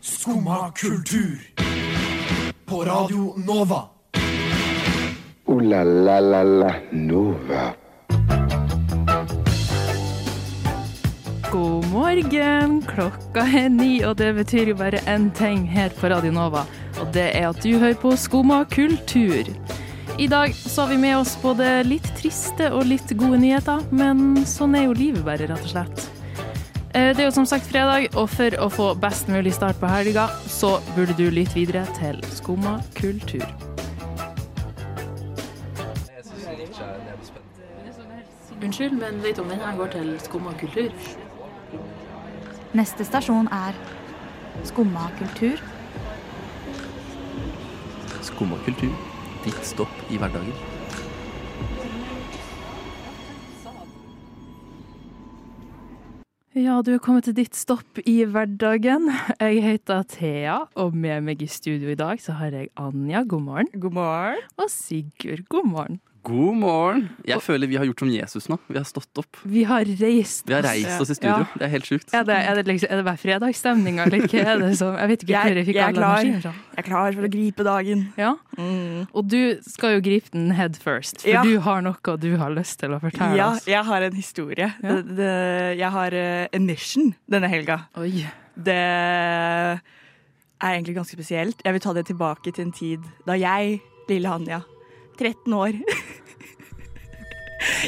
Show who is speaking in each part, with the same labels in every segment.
Speaker 1: Skumma kultur. På Radio Nova.
Speaker 2: Ooh la la la la Nova.
Speaker 3: God morgen, klokka er ni, og det betyr jo bare én ting her på Radio Nova, og det er at du hører på Skumma kultur. I dag så har vi med oss både litt triste og litt gode nyheter, men sånn er jo livet bare, rett og slett. Eh, Det er jo som sagt fredag, og for å få best mulig start på helga, så burde du lytte videre til Skumma kultur. Unnskyld, men vet du om denne går til Skumma kultur?
Speaker 4: Neste stasjon er Skumma kultur.
Speaker 5: Skumma kultur. Ditt stopp i hverdagen.
Speaker 3: Ja, du er kommet til ditt stopp i hverdagen. Jeg heter Thea, og med meg i studio i dag så har jeg Anja, god morgen. God morgen. Og Sigurd, god morgen.
Speaker 5: God morgen! Jeg føler vi har gjort som Jesus nå. Vi har stått opp.
Speaker 3: Vi har reist.
Speaker 5: Vi har reist oss i studio.
Speaker 3: Ja.
Speaker 5: Det er helt sjukt.
Speaker 3: Er det, er det, liksom, er det bare fredagsstemninga, eller hva er det som Jeg vet ikke
Speaker 6: Jeg-
Speaker 3: hvor jeg fikk
Speaker 6: jeg er
Speaker 3: alle
Speaker 6: klar.
Speaker 3: maskiner fra.
Speaker 6: Jeg er klar for å gripe dagen.
Speaker 3: Ja. Og du skal jo gripe den head first, for
Speaker 6: Ja.
Speaker 3: du har noe du har lyst til å fortelle
Speaker 6: Ja,
Speaker 3: oss.
Speaker 6: jeg har en historie. Det, det, jeg har eh, en mission denne helga.
Speaker 3: Oi.
Speaker 6: Det er egentlig ganske spesielt. Jeg vil ta det tilbake til en tid da jeg, lille Hanja, 13 år,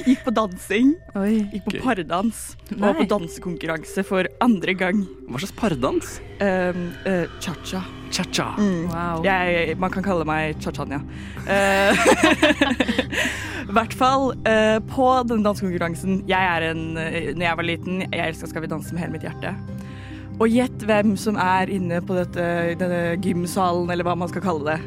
Speaker 6: gikk på dansing.
Speaker 3: Oi.
Speaker 6: Gikk på
Speaker 5: Gøy.
Speaker 6: pardans og
Speaker 3: Nei.
Speaker 6: var på dansekonkurranse for andre gang.
Speaker 5: Hva slags pardans?
Speaker 6: Um, eh, Cha-cha.
Speaker 5: Cha-cha.
Speaker 3: Mm. Wow.
Speaker 6: Jeg, man kan kalle meg Chachanya. Eh, I hvert fall eh, på denne dansekonkurransen. Jeg er en, eh, når jeg var liten, jeg elska Skal vi danse med hele mitt hjerte. Og gjett hvem som er inne på dette, denne gymsalen, eller hva man skal kalle det.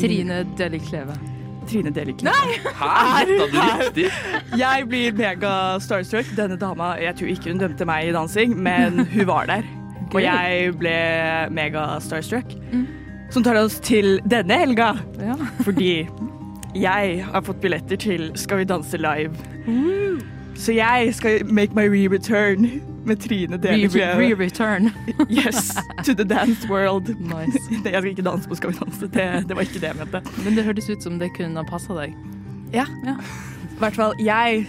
Speaker 3: Trine Deli Kleve.
Speaker 6: Trine Delik.
Speaker 5: Her gjetta du riktig!
Speaker 6: Jeg blir mega starstruck. Denne dama, jeg tror ikke hun dømte meg i dansing, men hun var der.
Speaker 3: Gøy.
Speaker 6: Og jeg ble mega starstruck. Som tar oss til denne helga.
Speaker 3: Ja.
Speaker 6: Fordi jeg har fått billetter til Skal vi danse live. Så jeg skal make my re-return med Trine Deli. Bjeve.
Speaker 3: Re-return.
Speaker 6: Yes, to the dance world.
Speaker 3: Nice.
Speaker 6: Nei, jeg skal ikke danse på Skal vi danse. Det, det var ikke det jeg mente.
Speaker 3: Men det hørtes ut som det kunne ha passa deg.
Speaker 6: Ja.
Speaker 3: Ja.
Speaker 6: I hvert fall jeg.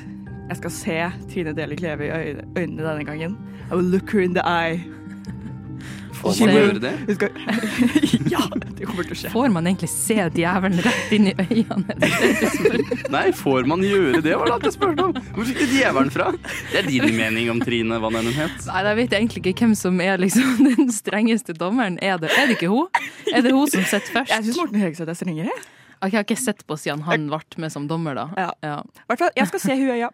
Speaker 6: Jeg skal se Trine Deli Kleve i øy- øynene denne gangen. I will look her in the eye.
Speaker 5: Får
Speaker 6: She
Speaker 5: man
Speaker 6: will-
Speaker 5: gjøre det?
Speaker 6: Hun skal... ja, det kommer til å skje.
Speaker 3: Får man egentlig se djevelen rett inn i øynene?
Speaker 5: Nei, får man gjøre det, var det alt jeg spurte om. Hvor fikk du djevelen fra? Det er din mening om Trine, hva den enn het.
Speaker 3: Nei, Jeg vet egentlig ikke hvem som er liksom den strengeste dommeren. Er det, er det ikke hun? Er det hun som sitter
Speaker 6: Jeg syns
Speaker 3: først?
Speaker 6: Morten Høgseth er strengere.
Speaker 3: Ok, jeg har ikke sett på siden han ble med som dommer, da.
Speaker 6: Ja. I hvert fall, jeg skal se hun i øya.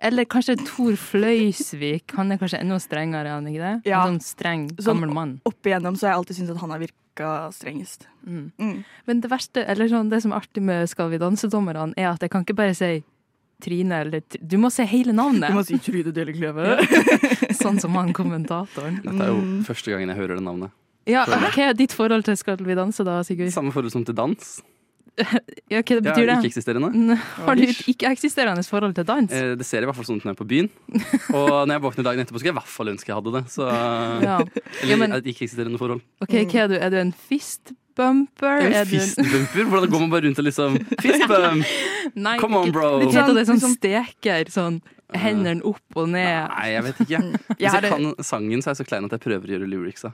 Speaker 3: Eller kanskje Tor Fløysvik. Han er kanskje enda strengere, er han ikke det?
Speaker 6: Ja.
Speaker 3: En sånn streng,
Speaker 6: Sånn-
Speaker 3: gammel mann.
Speaker 6: Opp igjennom så har jeg alltid syntes at han har virka strengest.
Speaker 3: Men det verste, eller sånn, det som er artig med Skal vi danse-dommerne, er at jeg kan ikke bare si Trine eller Tr- Du må si hele navnet,
Speaker 6: si Trude Deli Kleve.
Speaker 3: sånn som han kommentatoren.
Speaker 5: Dette er jo
Speaker 3: Mm.
Speaker 5: første gangen jeg hører det navnet.
Speaker 3: Ja, Hva er ditt forhold til Skal vi danse, da, Sigurd?
Speaker 5: Samme forhold som til dans.
Speaker 3: Ja, hva det
Speaker 5: Jeg
Speaker 3: betyr
Speaker 5: er
Speaker 3: det?
Speaker 5: ikke-eksisterende.
Speaker 3: N- Har du et ikke-eksisterende forhold til dans?
Speaker 5: Eh, Det ser i hvert fall sånn ut når jeg er på byen. Og når jeg våkner dagen etterpå, skulle jeg i hvert fall ønske jeg hadde det. Så
Speaker 3: Ja. Ja, men-
Speaker 5: Eller et ikke-eksisterende forhold.
Speaker 3: Ok, hva er du? Er du en fistbumper?
Speaker 5: mm. En
Speaker 3: Er du en
Speaker 5: Fistbumper? Hvordan går man bare rundt og liksom Fistbump!
Speaker 3: Nei,
Speaker 5: Come on,
Speaker 3: ikke-
Speaker 5: bro. Eh,
Speaker 3: Litt sånn, det er sånn
Speaker 6: Liksom-
Speaker 3: steker, sånn hendene opp og ned.
Speaker 5: Nei, jeg vet
Speaker 3: Mm.
Speaker 5: ikke.
Speaker 6: Jeg
Speaker 5: Hvis
Speaker 6: har
Speaker 5: jeg kan sangen, så er jeg så klein at jeg prøver å gjøre lyricsa.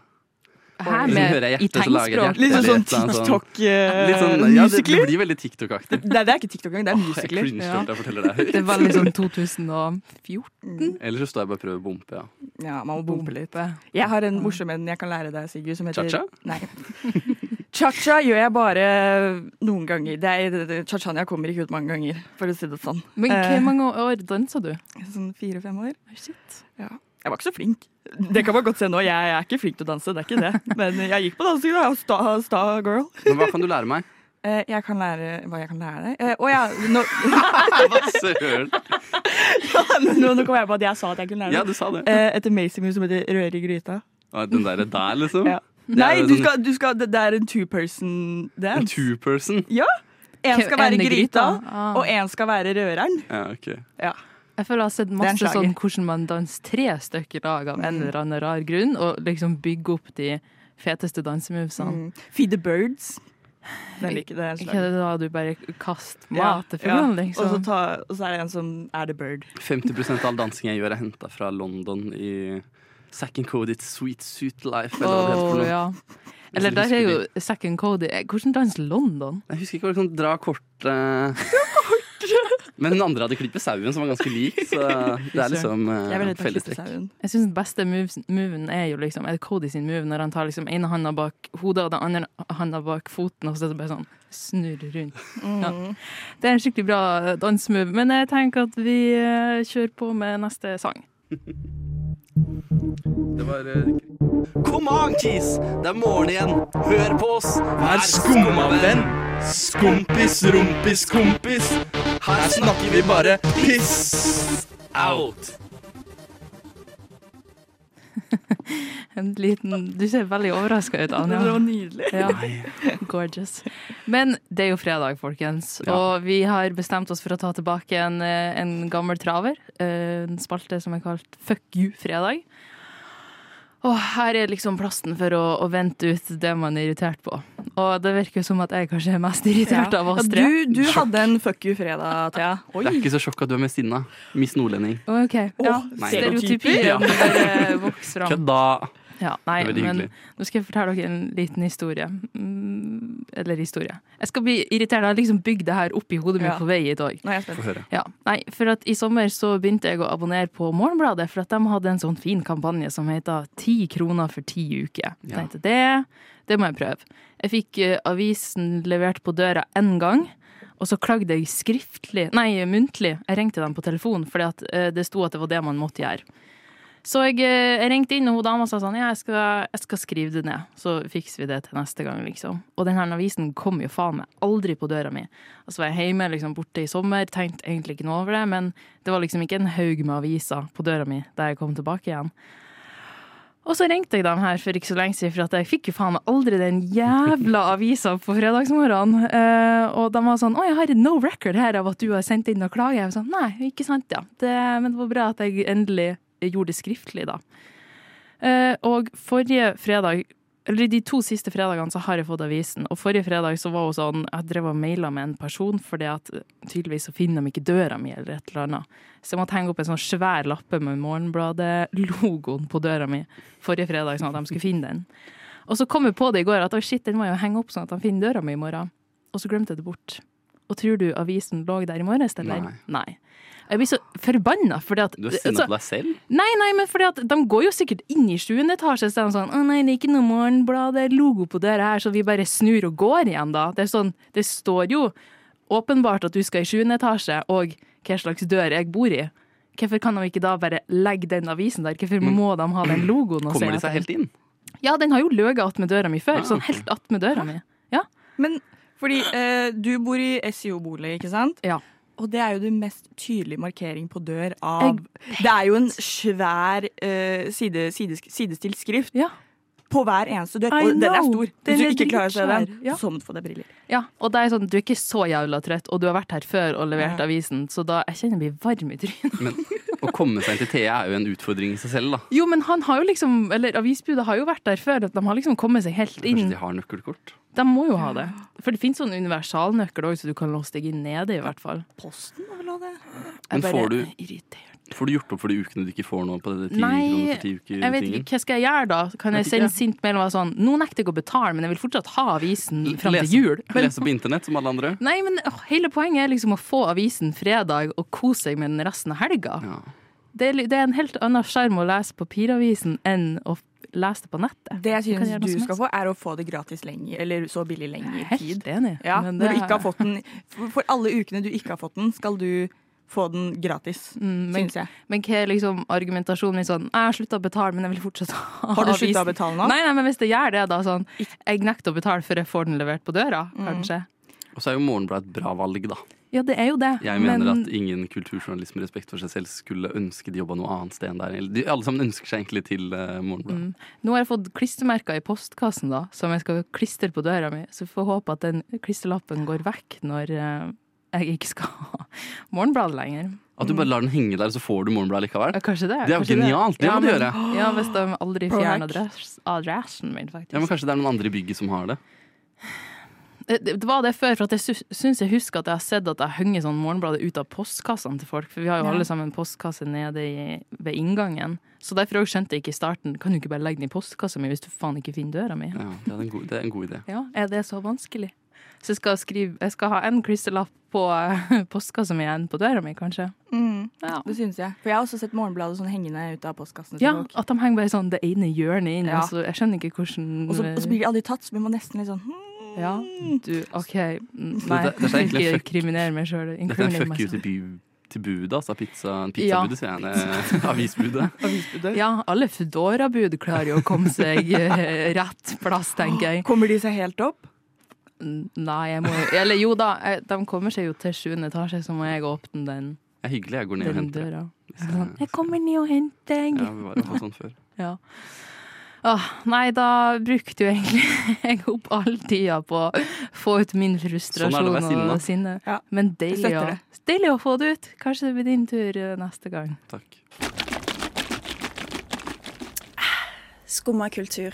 Speaker 3: Her
Speaker 5: Hvis jeg
Speaker 3: med
Speaker 5: hører
Speaker 3: i
Speaker 5: hjertet, så lager jeg
Speaker 3: tegnspråk.
Speaker 5: hjerte.
Speaker 6: Litt
Speaker 5: Eller
Speaker 6: sånn eh,
Speaker 5: et eller annet sånn- Litt sånn, ja, det, det
Speaker 6: TikTok-musikler.
Speaker 5: blir veldig TikTok-aktig.
Speaker 6: Nei, det er ikke TikTok engang, det er
Speaker 5: Jeg
Speaker 6: musikler.
Speaker 5: cringe
Speaker 3: Ja.
Speaker 5: når jeg forteller det høyt.
Speaker 3: Det var liksom 2014.
Speaker 5: Ellers så står jeg bare og prøver å bompe. Ja.
Speaker 6: Ja, man må bombe litt. Jeg har en morsom en jeg kan lære deg, Sigurd, som heter
Speaker 5: Cha-cha?
Speaker 6: Nei. Cha-cha gjør jeg bare noen ganger. Det er, det- det- Cha-cha-nya kommer ikke ut mange ganger, for å si det sånn.
Speaker 3: Men
Speaker 6: Eh,
Speaker 3: hvor mange år dansa du?
Speaker 6: Sånn fire-fem år.
Speaker 3: Shit.
Speaker 6: Ja. Jeg var ikke så flink. Det kan man godt se nå. Jeg, jeg er ikke flink til å danse, det er ikke det. Men jeg gikk på dansing, da. Sta, sta girl.
Speaker 5: Men hva kan du lære meg?
Speaker 6: Eh, Jeg kan lære hva jeg kan lære deg. Eh, Å ja, nå,
Speaker 5: Hva søren?
Speaker 6: nå, nå kom jeg på at jeg sa at jeg kunne lære
Speaker 5: Ja,
Speaker 6: deg.
Speaker 5: du sa det.
Speaker 6: Eh, Et amazing move som heter røre i gryta.
Speaker 5: Ah, Den derre der, liksom?
Speaker 6: Ja.
Speaker 5: Det er
Speaker 6: Nei,
Speaker 5: jo
Speaker 6: du
Speaker 5: sånn-
Speaker 6: skal, du skal, det det er en two-person
Speaker 5: En
Speaker 6: dance.
Speaker 5: two-person?
Speaker 6: Ja. En
Speaker 3: Hvem-
Speaker 6: skal være
Speaker 3: en i
Speaker 6: gryta,
Speaker 3: gryta? Ah.
Speaker 6: og en skal være røreren.
Speaker 5: Ja, ok.
Speaker 6: Ja.
Speaker 3: Jeg føler jeg har sett
Speaker 6: er en
Speaker 3: masse
Speaker 6: slager.
Speaker 3: Mm. sånn hvordan man danser tre stykker lag av en eller annen rar grunn, og liksom bygger opp de feteste dansemovesene.
Speaker 6: Mm. Feed the birds. Den liker det. er en
Speaker 3: Ikke
Speaker 6: slags-
Speaker 3: det da du bare kaster
Speaker 6: Ja,
Speaker 3: mat til fuglene,
Speaker 6: ja. Og, så
Speaker 3: liksom?
Speaker 6: ta, og så er det en som er the bird.
Speaker 5: 50 av all dansing jeg gjør, er henta fra London i Sack and Code It's Sweet Suit Life. Eller hva det heter
Speaker 3: Åh,
Speaker 5: for noe.
Speaker 3: ja. Eller
Speaker 5: Jeg
Speaker 3: der er
Speaker 5: husker
Speaker 3: jo Second Cody Eh, Hvordan danser London?
Speaker 5: Jeg husker ikke hva det var, sånn dra kort eh. Men den andre hadde klippet sauen, som var ganske lik, så det er liksom
Speaker 6: Jeg er
Speaker 5: eh,
Speaker 6: veldig fellestrekk.
Speaker 5: fellestrekk.
Speaker 3: Jeg syns den beste moves- moven er jo liksom Er det Cody sin move når han tar liksom ene handa bak hodet og den andre handa bak foten, og så er det bare sånn snurrer rundt. Ja. Det er en skikkelig bra dansemove, men jeg tenker at vi eh, kjører på med neste sang.
Speaker 5: Det var eh, Kom an, kis! Det er morgen igjen. Hør på oss. Vær skummavenn. Skompis, rumpis, kompis. Her snakker vi bare piss out.
Speaker 3: En liten Du ser veldig overraska ut, Anja.
Speaker 6: Det var nydelig.
Speaker 3: Ja. Gorgeous. Men det er jo fredag, folkens, og vi har bestemt oss for å ta tilbake en, eh, en gammel traver. eh, En spalte som er kalt Fuck you fredag. Og her er liksom plassen for å, å vente ut det man er irritert på. Og det virker jo som at jeg kanskje er mest irritert av oss tre.
Speaker 6: du du hadde en fuck you fredag, Thea. Oi.
Speaker 5: Det er ikke så sjokk at du er med sinna. Miss Nordlending.
Speaker 3: Ok, ja.
Speaker 6: Åh,
Speaker 5: nei.
Speaker 3: Stereotypien
Speaker 5: Ja.
Speaker 3: bare vokser fram.
Speaker 5: Kødda.
Speaker 3: Ja, nei,
Speaker 5: Det er veldig
Speaker 3: men
Speaker 5: hyggelig.
Speaker 3: nå skal jeg fortelle dere en liten historie. Mm, eller historie. Jeg skal bli irritert. Jeg har liksom bygd det her opp i hodet mitt
Speaker 6: Ja.
Speaker 3: på vei i dag.
Speaker 6: Nå er jeg spent.
Speaker 5: Få høre.
Speaker 3: Ja, nei, for at i sommer så begynte jeg å abonnere på Morgenbladet, for at de hadde en sånn fin kampanje som heter 10 kroner for 10 uker. Jeg
Speaker 5: Ja.
Speaker 3: tenkte det, det må jeg prøve. Jeg fikk eh, avisen levert på døra én gang, og så klagde jeg skriftlig, nei, muntlig. Jeg ringte dem på telefon, fordi at eh, det sto at det var det man måtte gjøre. Så jeg, eh, jeg ringte inn, og hun dama sa sånn, ja, jeg skal, jeg skal skrive det ned, så fikser vi det til neste gang, liksom. Og den her avisen kom jo faen meg aldri på døra mi. Og så var jeg hjemme liksom, borte i sommer, tenkte egentlig ikke noe over det, men det var liksom ikke en haug med aviser på døra mi da jeg kom tilbake igjen. Og så ringte jeg dem her for ikke så lenge siden, for at jeg fikk jo faen meg aldri den jævla avisa på fredagsmorgenen. Eh, og de var sånn 'Å, jeg har et no record her av at du har sendt inn noen klage'. Jeg var sånn 'Nei, ikke sant, ja'. Det, men det var bra at jeg endelig gjorde det skriftlig, da. Eh, og forrige fredag eller De to siste fredagene så har jeg fått avisen, og forrige fredag så var hun sånn Jeg drev og maila med en person, fordi at eh, tydeligvis så finner de ikke døra mi, eller et eller annet. Så jeg måtte henge opp en sånn svær lappe med Morgenbladet-logoen på døra mi forrige fredag, sånn at de skulle finne den. Og så kom jeg på det i går, at «Oi, shit, den må jeg jo henge opp sånn at de finner døra mi i morgen. Og så glemte jeg det bort. Og tror du avisen lå der i morges, eller?
Speaker 5: Nei.
Speaker 3: Nei. Jeg blir så forbanna, fordi at altså,
Speaker 5: Du er
Speaker 6: altså-
Speaker 5: sinna på deg selv?
Speaker 3: Nei, nei, men fordi at de går jo sikkert inn i sjuende etasje, så er de sånn 'Å nei, det er ikke noe morgenblad, det er logo på døra her', så vi bare snur og går igjen, da. Det er sånn, det står jo åpenbart at du skal i sjuende etasje, og hva slags dør jeg bor i. Hvorfor kan de ikke da bare legge den avisen der? Hvorfor må de ha den logoen? og
Speaker 5: Mm. Kommer
Speaker 3: si
Speaker 5: de
Speaker 3: at
Speaker 5: seg helt inn?
Speaker 3: Ja, den har jo løyet attmed døra mi før.
Speaker 5: Ah,
Speaker 3: Sånn
Speaker 5: ok.
Speaker 3: helt attmed døra mi. Ja.
Speaker 6: Men fordi eh, du bor i SIO-bolig, ikke sant?
Speaker 3: Ja.
Speaker 6: Og det er jo den mest tydelige markering på dør av Det er jo en svær eh, side, sides, sidestilt skrift
Speaker 3: ja.
Speaker 6: på hver eneste dør.
Speaker 3: I
Speaker 6: Og den er
Speaker 3: know.
Speaker 6: stor.
Speaker 3: Den
Speaker 6: Hvis du
Speaker 3: er
Speaker 6: ikke klarer å se den,
Speaker 3: dritsvær, ja.
Speaker 6: så må du få deg briller.
Speaker 3: Ja, og det er sånn, du er ikke så jævla trøtt, og du har vært her før og levert
Speaker 6: Ja.
Speaker 3: avisen, så da jeg kjenner jeg blir varm i trynet.
Speaker 5: Men å komme seg inn til Thea er jo en utfordring i seg selv, da.
Speaker 3: Jo, men han har jo liksom, eller avisbudet har jo vært der før, at de har liksom kommet seg helt
Speaker 5: Kanskje
Speaker 3: inn.
Speaker 5: de har nøkkelkort?
Speaker 3: De må jo ha det. For det finnes sånn universalnøkkel òg, så du kan låse deg inn nede, i hvert fall.
Speaker 6: Posten må vel ha det?
Speaker 5: Men får du,
Speaker 3: Irritert.
Speaker 5: får du gjort opp for de ukene du ikke får nå på det 10 kroner
Speaker 3: Nei,
Speaker 5: for 10
Speaker 3: jeg vet
Speaker 5: uker-tingen?
Speaker 3: ikke. Hva skal jeg gjøre da? Kan jeg
Speaker 5: Vet
Speaker 3: sende
Speaker 5: ikke.
Speaker 3: sint mail og være sånn Nå nekter jeg å betale, men jeg vil fortsatt ha avisen fram til
Speaker 5: Lese-
Speaker 3: jul. Men
Speaker 5: Lese på internett som alle andre?
Speaker 3: Nei, men åh, hele poenget er liksom å få avisen fredag og kose seg med den resten av helga.
Speaker 5: Ja.
Speaker 3: Det, er, li- det er en helt annen sjarm å lese papiravisen enn å f- lese det på nettet.
Speaker 6: Det jeg
Speaker 3: Kan gjøre
Speaker 6: syns
Speaker 3: noe
Speaker 6: du
Speaker 3: som
Speaker 6: skal få, er å få det gratis lenger, eller så billig lenger tid.
Speaker 3: Helt enig.
Speaker 6: Ja,
Speaker 3: men
Speaker 6: når
Speaker 3: det
Speaker 6: du ikke har fått den for- For alle ukene du ikke har fått den, skal du få den gratis,
Speaker 3: Mm, men-
Speaker 6: syns jeg.
Speaker 3: Men hva er liksom argumentasjonen min sånn Jeg har slutta å betale, men jeg vil fortsatt ha
Speaker 6: Har du sluttet
Speaker 3: avisen».
Speaker 6: å betale nå?
Speaker 3: Nei, nei, men hvis det gjør det, da sånn Jeg nekter å betale før jeg får den levert på døra,
Speaker 6: Mm.
Speaker 3: kanskje.
Speaker 5: Og så er jo Morgenbladet et bra valg, da.
Speaker 3: Ja, det er jo det.
Speaker 5: Jeg mener
Speaker 3: men,
Speaker 5: at ingen kulturjournalist med respekt for seg selv skulle ønske de jobba noe annet sted enn der. Eller De, alle sammen ønsker seg egentlig til eh, Morgenbladet.
Speaker 3: Nå har jeg fått klistremerker i postkassen, da, som jeg skal klistre på døra mi. Så vi får håpe at den klistrelappen går vekk når eh, jeg ikke skal ha morgenbladet lenger.
Speaker 5: At du bare lar den henge der, og så får du morgenbladet likevel.
Speaker 3: Ja, kanskje det.
Speaker 5: Det er jo
Speaker 3: kanskje
Speaker 5: genialt, det
Speaker 3: ja,
Speaker 5: må du
Speaker 3: men-
Speaker 5: gjøre.
Speaker 3: Ja, hvis de aldri fjerner
Speaker 6: Perfekt.
Speaker 3: adress- adressen min, faktisk.
Speaker 5: Ja, men Kanskje det er noen andre i bygget som har det.
Speaker 3: Eh, Det det var det før, for at jeg sy- syns jeg husker at jeg har sett at jeg henger sånn morgenbladet ut av postkassene til folk. For vi har jo
Speaker 4: Ja.
Speaker 3: alle sammen postkasse nede i, ved inngangen. Så derfor også skjønte jeg ikke i starten. Kan du ikke bare legge den i postkassa mi hvis du faen ikke finner døra mi?
Speaker 5: Ja, det, er en god, det er en god idé.
Speaker 3: Ja, er det så vanskelig? Så jeg skal, skrive, jeg skal ha en klisterlapp på eh, postkassa mi enn på døra mi, kanskje. Ja.
Speaker 6: Det synes jeg. For jeg har også sett Morgenbladet sånn hengende ut av postkassene til
Speaker 3: ja,
Speaker 6: folk.
Speaker 3: at de henger bare sånn det ene hjørnet inn.
Speaker 6: Ja.
Speaker 3: Altså, jeg skjønner ikke hvordan eh,
Speaker 6: Og så, og så blir de aldri tatt, så blir man nesten litt sånn hmm.
Speaker 3: Ja, du, OK. mm, Nei,
Speaker 5: dette er
Speaker 3: jeg skal
Speaker 5: egentlig en
Speaker 3: ikke
Speaker 5: fuck-
Speaker 3: kriminere meg sjøl.
Speaker 5: Dette er en fuck you til, bu- til budet, altså. Pizza, pizzabudet, sier jeg. Eh, Avisbudet.
Speaker 3: Ja, alle Foodora-bud klarer jo å komme seg eh, rett plass, tenker jeg.
Speaker 6: Kommer de seg helt opp?
Speaker 3: N- Nei, jeg må Eller jo da, eh, de kommer seg jo til sjuende etasje, så må jeg åpne den,
Speaker 5: Det er hyggelig, jeg går ned og
Speaker 3: den
Speaker 5: henter det.
Speaker 3: døra.
Speaker 5: Hvis jeg-
Speaker 3: Sånn, jeg kommer ned og henter
Speaker 5: Ja,
Speaker 3: deg.
Speaker 5: vi var jo på sånn før.
Speaker 3: Ja. Åh, nei, da brukte jo egentlig jeg opp all tida på å få ut min frustrasjon
Speaker 5: Sånn er det å være
Speaker 3: og sinne.
Speaker 6: Ja.
Speaker 3: Men deilig
Speaker 6: Jeg
Speaker 3: å,
Speaker 6: støtter
Speaker 3: deilig å få det ut. Kanskje det blir din tur eh, neste gang.
Speaker 5: Takk.
Speaker 7: Skumma kultur.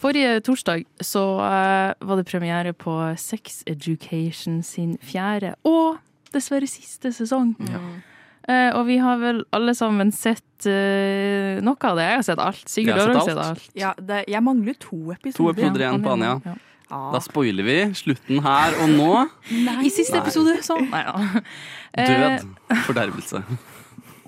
Speaker 3: Forrige torsdag så eh, var det premiere på Sex Education sin fjerde og dessverre siste sesong. Eh, og vi har vel alle sammen sett eh, noe av det. Jeg har sett alt. Sigurd
Speaker 5: Jeg har
Speaker 3: har
Speaker 5: sett
Speaker 3: også sett
Speaker 5: alt.
Speaker 3: alt.
Speaker 6: Ja, det, jeg mangler to
Speaker 5: To
Speaker 6: episoder.
Speaker 5: episoder igjen på Anja.
Speaker 3: Ja.
Speaker 6: Ja.
Speaker 5: Da spoiler vi slutten her og nå.
Speaker 3: I siste episode, så Nei da. Eh.
Speaker 5: Død. Fordervelse.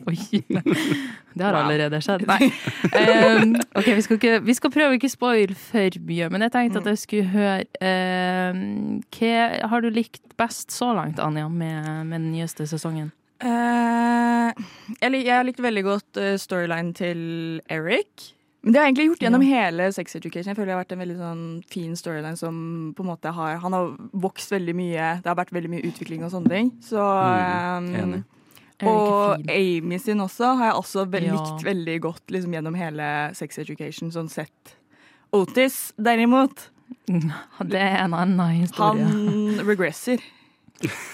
Speaker 3: Oi. Det har allerede skjedd. Nei. Em, ok, vi skal, ikke, vi skal prøve å ikke spoil for mye, men jeg tenkte at jeg skulle høre em, Hva har du likt best så langt, Anja, med, med den nyeste sesongen?
Speaker 6: Eh, jeg, lik- jeg likte veldig godt eh, storyline til Eric. Men det har jeg egentlig gjort gjennom hele Sex Education. Jeg føler det har vært en veldig sånn fin storyline som på en måte har Han har vokst veldig mye. Det har vært veldig mye utvikling og sånne ting. Så
Speaker 5: Mm,
Speaker 6: eh,
Speaker 5: enig.
Speaker 3: Er det ikke
Speaker 6: Og
Speaker 3: fin?
Speaker 6: Amy sin også har jeg også vel,
Speaker 3: Ja.
Speaker 6: likt veldig godt liksom, gjennom hele Sex Education, sånn sett. Otis, derimot,
Speaker 3: Det er en annen
Speaker 6: han
Speaker 3: historie.
Speaker 6: regresser.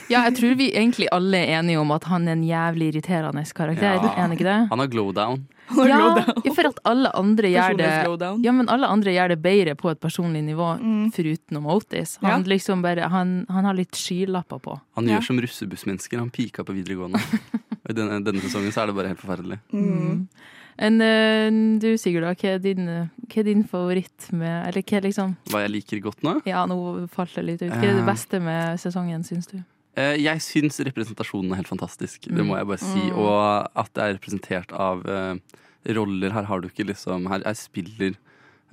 Speaker 3: Ja, jeg tror vi egentlig alle er enige om at han er en jævlig irriterende karakter.
Speaker 5: Ja.
Speaker 3: Er han ikke det?
Speaker 5: Han har glow down.
Speaker 3: Ja, for at alle andre gjør det
Speaker 6: Personlighetsslowdown.
Speaker 3: Ja, men alle andre gjør det bedre på et personlig nivå, foruten om Otis. Han, liksom bare, han, han har litt skylapper på.
Speaker 5: Han
Speaker 6: Ja.
Speaker 5: gjør som russebussmennesker. Han pika på videregående. Og I denne, denne sesongen så er det bare helt forferdelig.
Speaker 3: Enn Mm. eh, du, Sigurd, da, hva er din, eh, hva er din favoritt med Eller hva er liksom
Speaker 5: Hva jeg liker godt nå?
Speaker 3: Ja, nå falt det litt ut. Hva er det
Speaker 5: Eh.
Speaker 3: beste med sesongen, syns du?
Speaker 5: Eh, Jeg syns representasjonen er helt fantastisk. Det må jeg bare si. Og at det er representert av eh, roller. Her har du ikke liksom Her, her spiller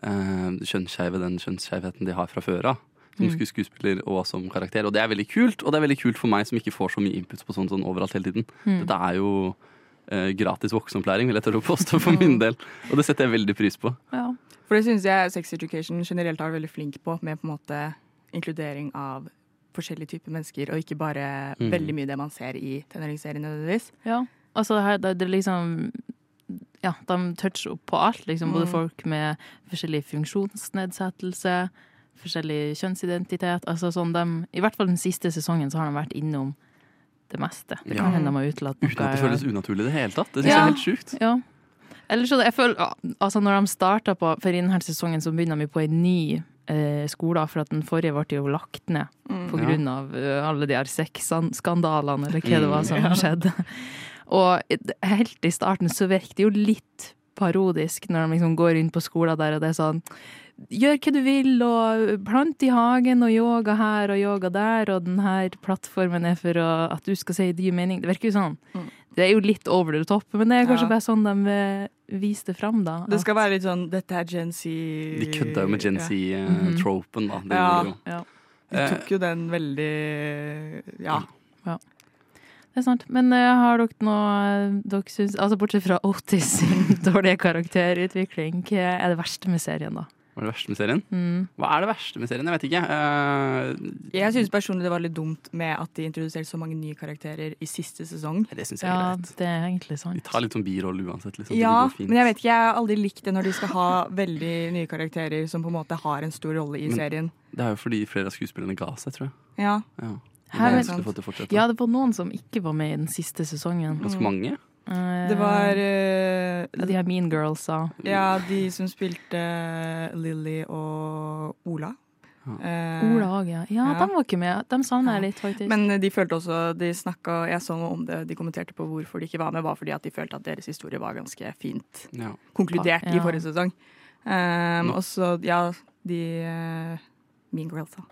Speaker 5: eh, kjønnsskeive den kjønnsskjevheten de har fra før av. Som sku- skuespiller og som karakter. Og det er veldig kult. Og det er veldig kult for meg som ikke får så mye input på sånn, sånn overalt hele tiden. Dette er jo eh, gratis voksenopplæring, vil jeg tørre å påstå for min del. Og det setter jeg veldig pris på.
Speaker 3: Ja.
Speaker 6: For det syns jeg Sex Education generelt har vært veldig flink på, med på en måte inkludering av forskjellige typer mennesker, og ikke bare
Speaker 5: Mm.
Speaker 6: veldig mye det man ser i tenåringsserien nødvendigvis.
Speaker 3: ja. Altså, her, det, det er liksom Ja, de toucher opp på alt, liksom. Både folk med forskjellig funksjonsnedsettelse, forskjellig kjønnsidentitet. Altså sånn de I hvert fall den siste sesongen så har de vært innom det meste. Det kan
Speaker 5: Ja.
Speaker 3: hende de har utelatt noe.
Speaker 5: Uten at det
Speaker 3: eller-
Speaker 5: føles unaturlig i det hele tatt. Det synes
Speaker 3: Ja.
Speaker 5: jeg er helt sjukt.
Speaker 3: Ja. Ellers så det, jeg føler, ja, altså når de starta på, for i denne sesongen så begynner de jo på en ny eh, skole, for at den forrige ble jo lagt ned på
Speaker 5: Ja.
Speaker 3: grunn av eh, alle de her sexskandalene, eller hva det var som skjedde. Og i- helt i starten så virket det jo litt parodisk når de liksom går inn på skolen der, og det er sånn Gjør hva du vil, og plant i hagen, og yoga her og yoga der, og den her plattformen er for å, at du skal si din mening. Det virker jo sånn. Det er jo litt over the top, men det er kanskje
Speaker 6: Mm. Ja.
Speaker 3: bare sånn de eh, viste det fram, da.
Speaker 6: Det skal
Speaker 3: at-
Speaker 6: være litt sånn 'dette er Gen Z'.
Speaker 5: De kødda jo med Gen Z-tropen, da. Det gjorde
Speaker 6: Ja.
Speaker 5: de jo. Eh,
Speaker 3: ja.
Speaker 6: De tok jo den veldig Ja.
Speaker 5: Mm.
Speaker 3: Det er sant. Men eh, har dere noe eh, dere syns Altså bortsett fra Otis sin dårlige karakterutvikling, hva er det verste med serien, da?
Speaker 5: Hva er det verste med serien? Hva er det verste med serien? Jeg vet ikke. Eh,
Speaker 6: Jeg syns personlig det var litt dumt med at de introduserte så mange nye karakterer i siste sesong.
Speaker 5: det syns jeg er
Speaker 3: Ja,
Speaker 5: greit.
Speaker 3: det er egentlig
Speaker 5: De
Speaker 3: sant.
Speaker 5: tar litt sånn birolle uansett. Liksom, så
Speaker 6: Ja,
Speaker 5: det går fint.
Speaker 6: men jeg vet ikke, jeg har aldri likt det når de skal ha veldig nye karakterer som på en måte har en stor rolle i serien.
Speaker 5: Det er jo fordi flere av skuespillerne ga seg, tror jeg.
Speaker 6: Ja.
Speaker 5: Ja.
Speaker 3: Her,
Speaker 6: er
Speaker 3: men-
Speaker 6: sant.
Speaker 5: Vanskelig å få til å fortsette.
Speaker 3: ja, det var noen som ikke var med i den siste sesongen.
Speaker 5: Ganske mange.
Speaker 3: Eh,
Speaker 6: Det var eh,
Speaker 3: ja, De her Mean Girlsa.
Speaker 6: Ja, de som spilte Lilly og Ola. Eh,
Speaker 3: Ola òg, ja. ja.
Speaker 6: Ja.
Speaker 3: De var ikke med. De savner jeg litt, faktisk.
Speaker 6: Men de følte også De snakka Jeg så noe om det. De kommenterte på hvorfor de ikke var med, var fordi at de følte at deres historie var ganske fint
Speaker 5: Ja.
Speaker 6: konkludert i
Speaker 3: Ja.
Speaker 6: forrige sesong. Um,
Speaker 5: Nå-
Speaker 6: og så, ja, de eh, Mean Girls, da.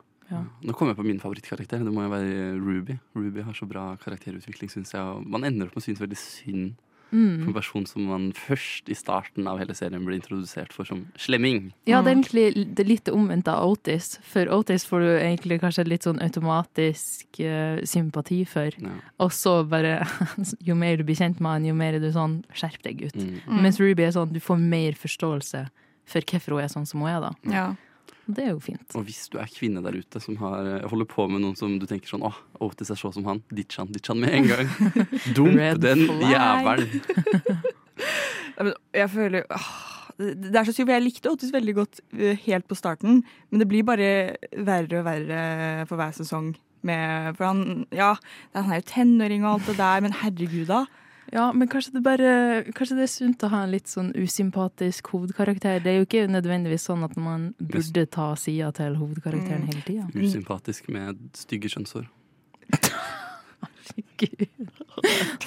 Speaker 5: Nå kommer jeg på min favorittkarakter. Det må jo være Ruby. Ruby har så bra karakterutvikling, syns jeg. og Man ender opp med å synes veldig synd på en person som man først i starten av hele serien ble introdusert for som slemming.
Speaker 3: Ja, det er egentlig det litt omvendt av Otis. For Otis får du egentlig kanskje litt sånn automatisk eh, sympati for.
Speaker 5: Ja.
Speaker 3: Og så bare Jo mer du blir kjent med han, jo mer er du sånn Skjerp deg, gutt.
Speaker 6: Mm.
Speaker 3: Mens Ruby er sånn Du får mer forståelse for hvorfor hun er sånn som hun er, da.
Speaker 6: Ja.
Speaker 3: Og det er jo fint.
Speaker 5: Og hvis du er kvinne der ute som har, eh, holder på med noen som du tenker sånn Åh, Otis er så som han. Ditch han, ditch han med en gang. Dump
Speaker 3: Red
Speaker 5: den
Speaker 3: flag.
Speaker 5: jævelen.
Speaker 6: Ja, men Jeg føler åh, Det det er så sykt, for jeg likte Otis veldig godt eh, helt på starten, men det blir bare verre og verre for hver sesong. Med, for han, ja, han er jo tenåring og alt det der, men herregud, da.
Speaker 3: Ja, men kanskje det bare Kanskje det er sunt å ha en litt sånn usympatisk hovedkarakter. Det er jo ikke nødvendigvis sånn at man burde ta sida til hovedkarakteren hele tida.
Speaker 5: Usympatisk med stygge skjønnshår.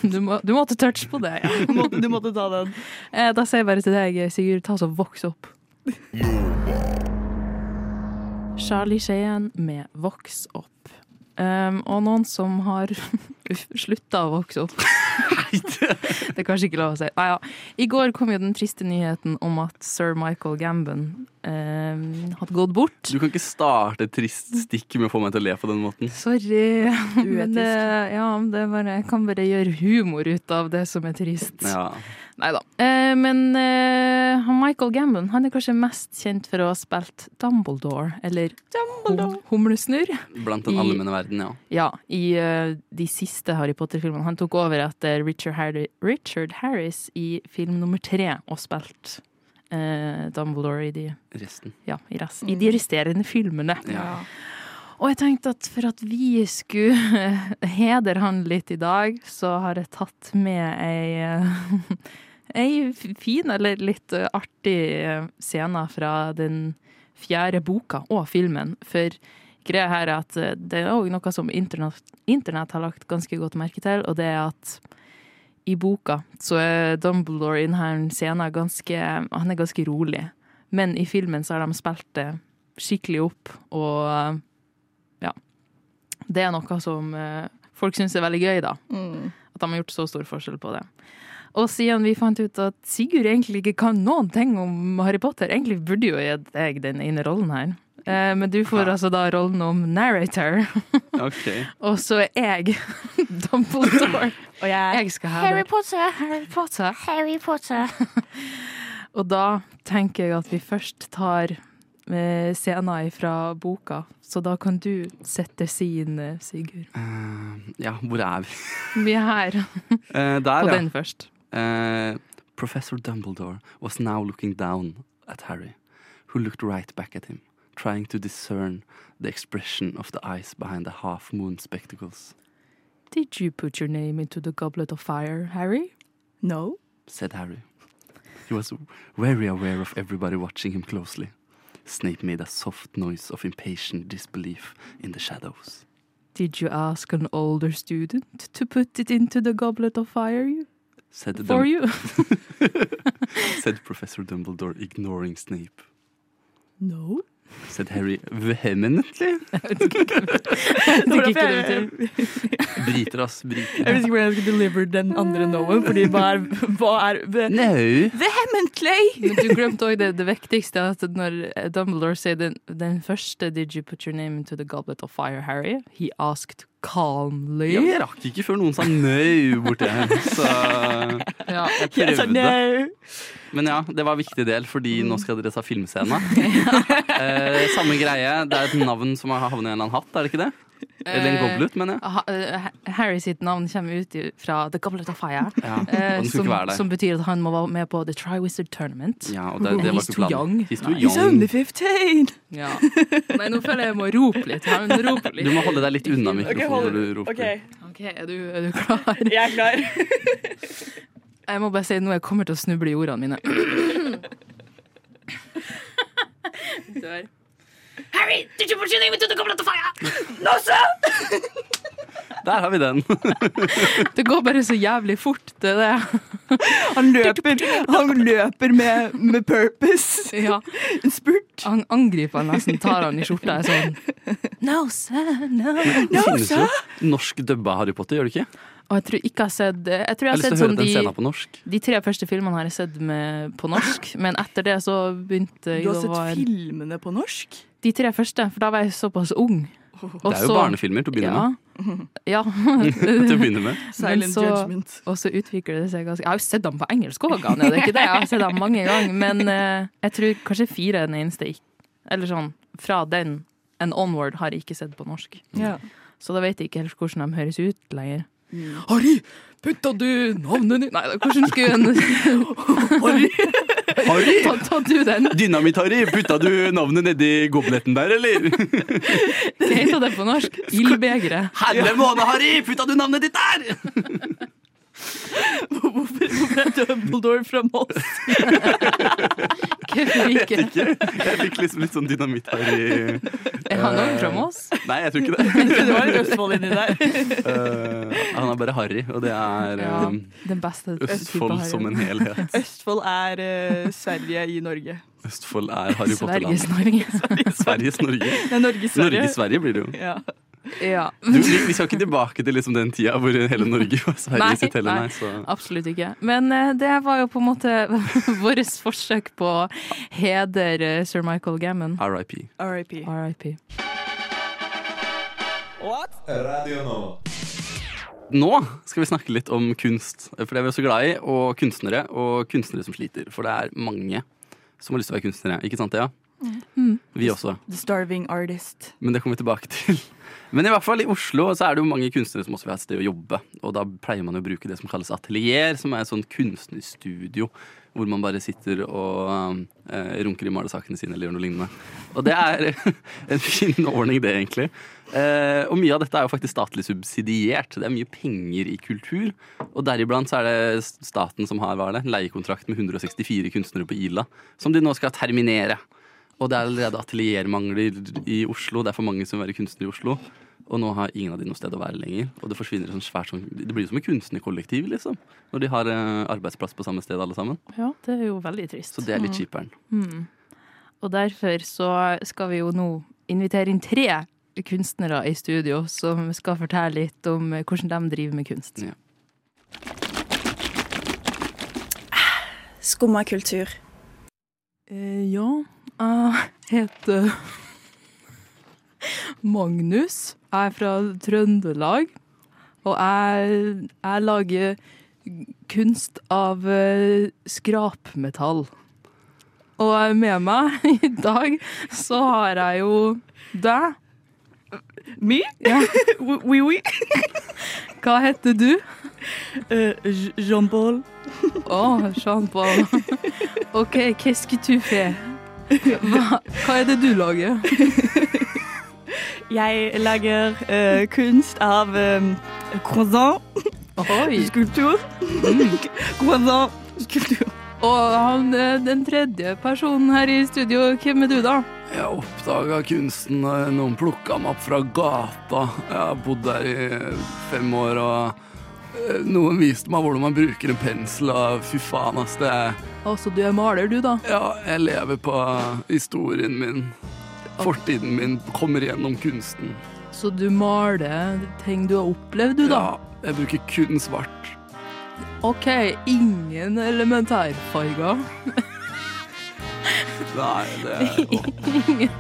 Speaker 3: Du, må, du måtte touche på det, ja.
Speaker 6: Du måtte, du måtte ta den.
Speaker 3: Eh, Da sier jeg bare til deg, Sigurd, ta så voks opp. Charlie Sheen med Voks opp. Um, og noen som har slutta å vokse opp. det er kanskje ikke lov å si. Nei, ja. I går kom jo den triste nyheten om at sir Michael Gambon um, hadde gått bort.
Speaker 5: Du kan ikke starte et trist stikk med å få meg til å le på den måten.
Speaker 3: Sorry. Men
Speaker 6: Uetisk.
Speaker 3: det, ja, det er bare, jeg kan bare gjøre humor ut av det som er trist.
Speaker 5: Ja.
Speaker 3: Nei da. Eh, men eh, han Michael Gambon han er kanskje mest kjent for å ha spilt Dumbledore, eller Dumbledore. Humlesnurr,
Speaker 5: Blant den
Speaker 3: I-
Speaker 5: allmenne verden, ja.
Speaker 3: ja, i eh, de siste Harry Potter-filmene. Han tok over etter Richard, Harri Richard Harris i film nummer tre og spilt eh, Dumbledore i de,
Speaker 5: Resten.
Speaker 3: ja, i, rest, i de resterende filmene.
Speaker 5: Ja.
Speaker 3: Og jeg tenkte at for at vi skulle hedre han litt i dag, så har jeg tatt med ei eh, Ei fin eller litt eh, artig eh, scene fra den fjerde boka og filmen. For greia her er at eh, det er òg noe som internett, internett har lagt ganske godt merke til, og det er at i boka så er Dumbledore i denne scenen ganske Han er ganske rolig. Men i filmen så har de spilt det skikkelig opp, og eh, det er noe som eh, folk syns er veldig gøy, da. At de har gjort så stor forskjell på det. Og siden vi fant ut at Sigurd egentlig ikke kan noen ting om Harry Potter, egentlig burde jo jeg deg den ene rollen her. Eh, men du får altså da rollen om narrator,
Speaker 5: Ok.
Speaker 3: og så er jeg Dumbledore.
Speaker 6: Og jeg
Speaker 3: Jeg skal ha Harry Potter, Harry Potter, Harry Potter. Og da tenker jeg at vi først tar eh, scener fra boka, så da kan du sette sin, eh, Sigurd.
Speaker 5: Eh, ja, hvor er vi?
Speaker 3: Vi er her.
Speaker 5: Eh, der,
Speaker 3: på
Speaker 5: ja.
Speaker 3: den først.
Speaker 5: Uh, Professor Dumbledore was now looking down at Harry, who looked right back at him, trying to discern the expression of the eyes behind the half moon spectacles,
Speaker 3: Did you put your name into the goblet of fire, Harry?
Speaker 6: No.
Speaker 5: said Harry. He was very aware of everybody watching him closely. Snape made a soft noise of impatient disbelief in the shadows.
Speaker 3: Did you ask an older student to put it into the goblet of fire you,
Speaker 5: Said,
Speaker 3: for
Speaker 5: Dum-
Speaker 3: you?
Speaker 5: said Professor Dumbledore, ignoring Snape.
Speaker 6: No.
Speaker 5: Said Harry vehemently.
Speaker 3: Det gikk ikke
Speaker 6: jeg, jeg,
Speaker 3: dem til.
Speaker 5: Briter, ass. Briter.
Speaker 6: visste ikke hvordan jeg skulle deliver den andre no-en, fordi hva er, hva er ve-
Speaker 5: No.
Speaker 6: Vehemently!
Speaker 3: Men du glemte òg det, det viktigste, at når Dumbledore sier den, den første 'Did you put your name into the goblet of fire, Harry?' He asked calmly.
Speaker 5: Ja, men jeg rakk ikke før noen sa nøy borti her. Så
Speaker 3: Ja.
Speaker 5: jeg
Speaker 6: Jeg sa
Speaker 5: prøvde.
Speaker 6: no.
Speaker 5: Men ja, det var en viktig del, fordi nå skal dere ta filmscena. Eh, samme greie. Det er et navn som har havnet i en eller annen hatt, er det ikke det? Eller Goblet, mener jeg.
Speaker 3: Ha- eh, Ha- Harry sitt navn kommer ut i- fra The Goblet of Fire.
Speaker 5: Ja, og
Speaker 3: eh,
Speaker 5: den skulle
Speaker 3: som,
Speaker 5: ikke være der.
Speaker 3: som betyr at han må være med på The Triwizard Tournament.
Speaker 5: Ja, og det, det var
Speaker 3: He's
Speaker 5: ikke
Speaker 3: too young.
Speaker 5: planen. He's too
Speaker 3: Nei.
Speaker 6: He's
Speaker 5: young.
Speaker 6: only 15!
Speaker 3: Ja. Nei, nå føler jeg jeg må rope litt. Han roper litt.
Speaker 5: Du må holde deg litt unna
Speaker 6: Ok,
Speaker 5: mikrofonen når
Speaker 6: hold-
Speaker 5: du roper.
Speaker 6: OK,
Speaker 3: Ok, er du, er du klar?
Speaker 6: jeg er klar.
Speaker 3: Jeg må bare si noe jeg kommer til å snuble i ordene mine. Dør.
Speaker 5: Der har vi den.
Speaker 3: Det går bare så jævlig fort, det er det.
Speaker 6: Han løper, han løper med, med purpose.
Speaker 3: Ja.
Speaker 6: En spurt.
Speaker 3: Han angriper han nesten, tar han i skjorta. Jeg er sånn No, sir, no.
Speaker 5: Det finnes jo norsk dubba Harry Potter, gjør det ikke?
Speaker 3: Og jeg tror ikke jeg har sett Jeg tror jeg
Speaker 5: Jeg har
Speaker 3: har
Speaker 5: lyst
Speaker 3: sett
Speaker 5: til å høre
Speaker 3: sånn
Speaker 5: den
Speaker 3: de,
Speaker 5: scenen på norsk.
Speaker 3: de tre første filmene har jeg sett med, på norsk, men etter det så begynte jeg
Speaker 6: Du har
Speaker 3: å
Speaker 6: sett
Speaker 3: være-
Speaker 6: filmene på norsk?
Speaker 3: De tre første, for da var jeg såpass ung.
Speaker 5: Det er jo barnefilmer til å begynne med.
Speaker 3: Ja.
Speaker 5: Til å
Speaker 3: ja.
Speaker 5: begynne med.
Speaker 6: Silent
Speaker 3: så-
Speaker 6: judgment.
Speaker 3: Og så utvikler det seg ganske Jeg har jo sett dem på engelsk òg, det er ikke det? Jeg har sett dem mange ganger. Men eh, jeg tror kanskje fire er den eneste jeg Eller sånn, fra den and onward har jeg ikke sett på norsk. Så da vet jeg ikke helt hvordan de høres ut lenger.
Speaker 6: Mm.
Speaker 3: Harry, putta du navnet ditt Nei, da, hvordan skulle en
Speaker 6: Harry.
Speaker 5: Harry!
Speaker 3: ta, ta du den?
Speaker 5: Dynamitt-Harry, putta du navnet nedi gobletten der, eller?
Speaker 3: Hva heter det på norsk? Ildbegeret.
Speaker 5: Herre måne, Harry! Putta du navnet ditt der?
Speaker 6: Hvorfor hvorfor er Dumbledore fra Moss?
Speaker 3: Hvorfor ikke?
Speaker 5: Ikke? Jeg fikk liksom litt sånn Dynamitt-Harry
Speaker 3: Er han òg fra Moss?
Speaker 5: Nei, jeg tror ikke det.
Speaker 6: Det var Østfold inni der.
Speaker 5: Eh, han er bare Harry, og det er
Speaker 3: Ja,
Speaker 5: eh,
Speaker 3: den beste type
Speaker 5: Østfold
Speaker 3: Harry.
Speaker 5: som en helhet.
Speaker 6: Østfold er eh, Sverige i Norge.
Speaker 5: Østfold er Harry
Speaker 3: Sveriges
Speaker 5: Potter-land.
Speaker 3: Norge.
Speaker 5: Sveriges Norge.
Speaker 6: Nei, Norge-Sverige.
Speaker 5: Norge-Sverige blir det jo.
Speaker 6: Ja.
Speaker 3: Ja.
Speaker 5: Du, vi, vi skal ikke tilbake til liksom den tida hvor hele Norge var Sverige
Speaker 3: Nei,
Speaker 5: sitt heller,
Speaker 3: nei.
Speaker 5: nei. Så.
Speaker 3: Absolutt ikke. Men eh, det var jo på en måte vårt forsøk på å hedre sir Michael Gammon.
Speaker 5: RIP.
Speaker 6: RIP.
Speaker 3: RIP.
Speaker 5: Nå skal vi snakke litt om kunst, for det er vi også glad i. Og kunstnere, og kunstnere som sliter. For det er mange som har lyst til å være kunstnere. Ikke sant, Thea? Vi også.
Speaker 6: The Starving Artist.
Speaker 5: Men det kommer vi tilbake til. Men i hvert fall i Oslo så er det jo mange kunstnere som også vil ha et sted å jobbe. Og da pleier man å bruke det som kalles atelier, som er et sånn kunstnerstudio. Hvor man bare sitter og eh, runker i malesakene sine eller gjør noe lignende. Og det er en fin ordning, det, egentlig. Eh, og mye av dette er jo faktisk statlig subsidiert. Det er mye penger i kultur. Og deriblant så er det staten som har hva er det, en leiekontrakt med 164 kunstnere på Ila, som de nå skal terminere. Og det er allerede ateliermangler i Oslo. Det er for mange som vil være kunstnere i Oslo. Og nå har ingen av de noe sted å være lenger. Og det forsvinner sånn svært sånn Det blir som et kunstnerkollektiv, liksom. Når de har eh, arbeidsplass på samme sted, alle sammen.
Speaker 3: Ja, det er jo veldig trist.
Speaker 5: Så det er litt kjiperen.
Speaker 3: Og derfor så skal vi jo nå invitere inn tre kunstnere i studio som skal fortelle litt om eh, hvordan de driver med kunst.
Speaker 5: Ja.
Speaker 7: Skumma kultur.
Speaker 3: Eh, ja, jeg heter Magnus. Jeg er fra Trøndelag. Og jeg, jeg lager kunst av eh, skrapmetall. Og med meg i dag så har jeg jo deg.
Speaker 6: Me?
Speaker 3: Ja.
Speaker 6: Oui-oui.
Speaker 3: Hva heter du?
Speaker 6: Eh, Jean-Paul.
Speaker 3: Å, Jean-Paul. OK, qu'est-ce que tu fais? Hva, hva er det du lager?
Speaker 6: Jeg lager eh, kunst av um, croissant,
Speaker 3: Oi.
Speaker 6: skulptur. croissant, skulptur.
Speaker 3: Og han, eh, den tredje personen her i studio, hvem er du da?
Speaker 5: Jeg oppdaga kunsten da noen plukka meg opp fra gata. Jeg har bodd der i eh, fem år, og eh, noen viste meg hvordan man bruker en pensel, og fy faen, ass. Det er
Speaker 3: Altså, du er maler du da?
Speaker 5: Ja, jeg lever på eh, historien min. Fortiden min kommer gjennom kunsten.
Speaker 3: Så du maler ting du har opplevd du da?
Speaker 5: Ja, jeg bruker kun svart.
Speaker 3: Ok, ingen elementærfarger.
Speaker 5: Nei, det er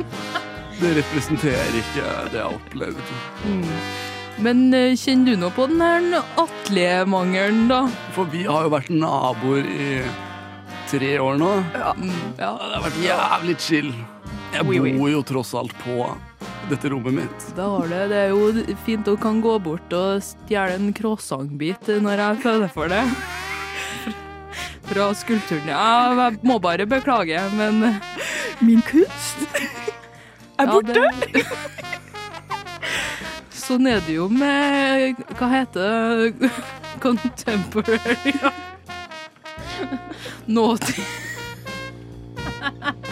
Speaker 5: Det representerer ikke det jeg har opplevd.
Speaker 3: Men eh, kjenner du nå på den her atelier-mangelen da?
Speaker 5: For vi har jo vært naboer i tre år nå.
Speaker 3: Ja. Mm, ja.
Speaker 5: Det har vært jævlig chill. Jeg
Speaker 6: Oui, oui.
Speaker 5: bor jo tross alt på dette rommet mitt.
Speaker 3: Da har det, det er jo fint å kan gå bort og stjele en croissantbit når jeg føler for det. Fra skulpturen. Ja, jeg må bare beklage, men
Speaker 6: Min kunst er
Speaker 3: Ja,
Speaker 6: borte.
Speaker 3: det- Sånn er det jo med Hva heter det? Contemporary ja. Nåtid.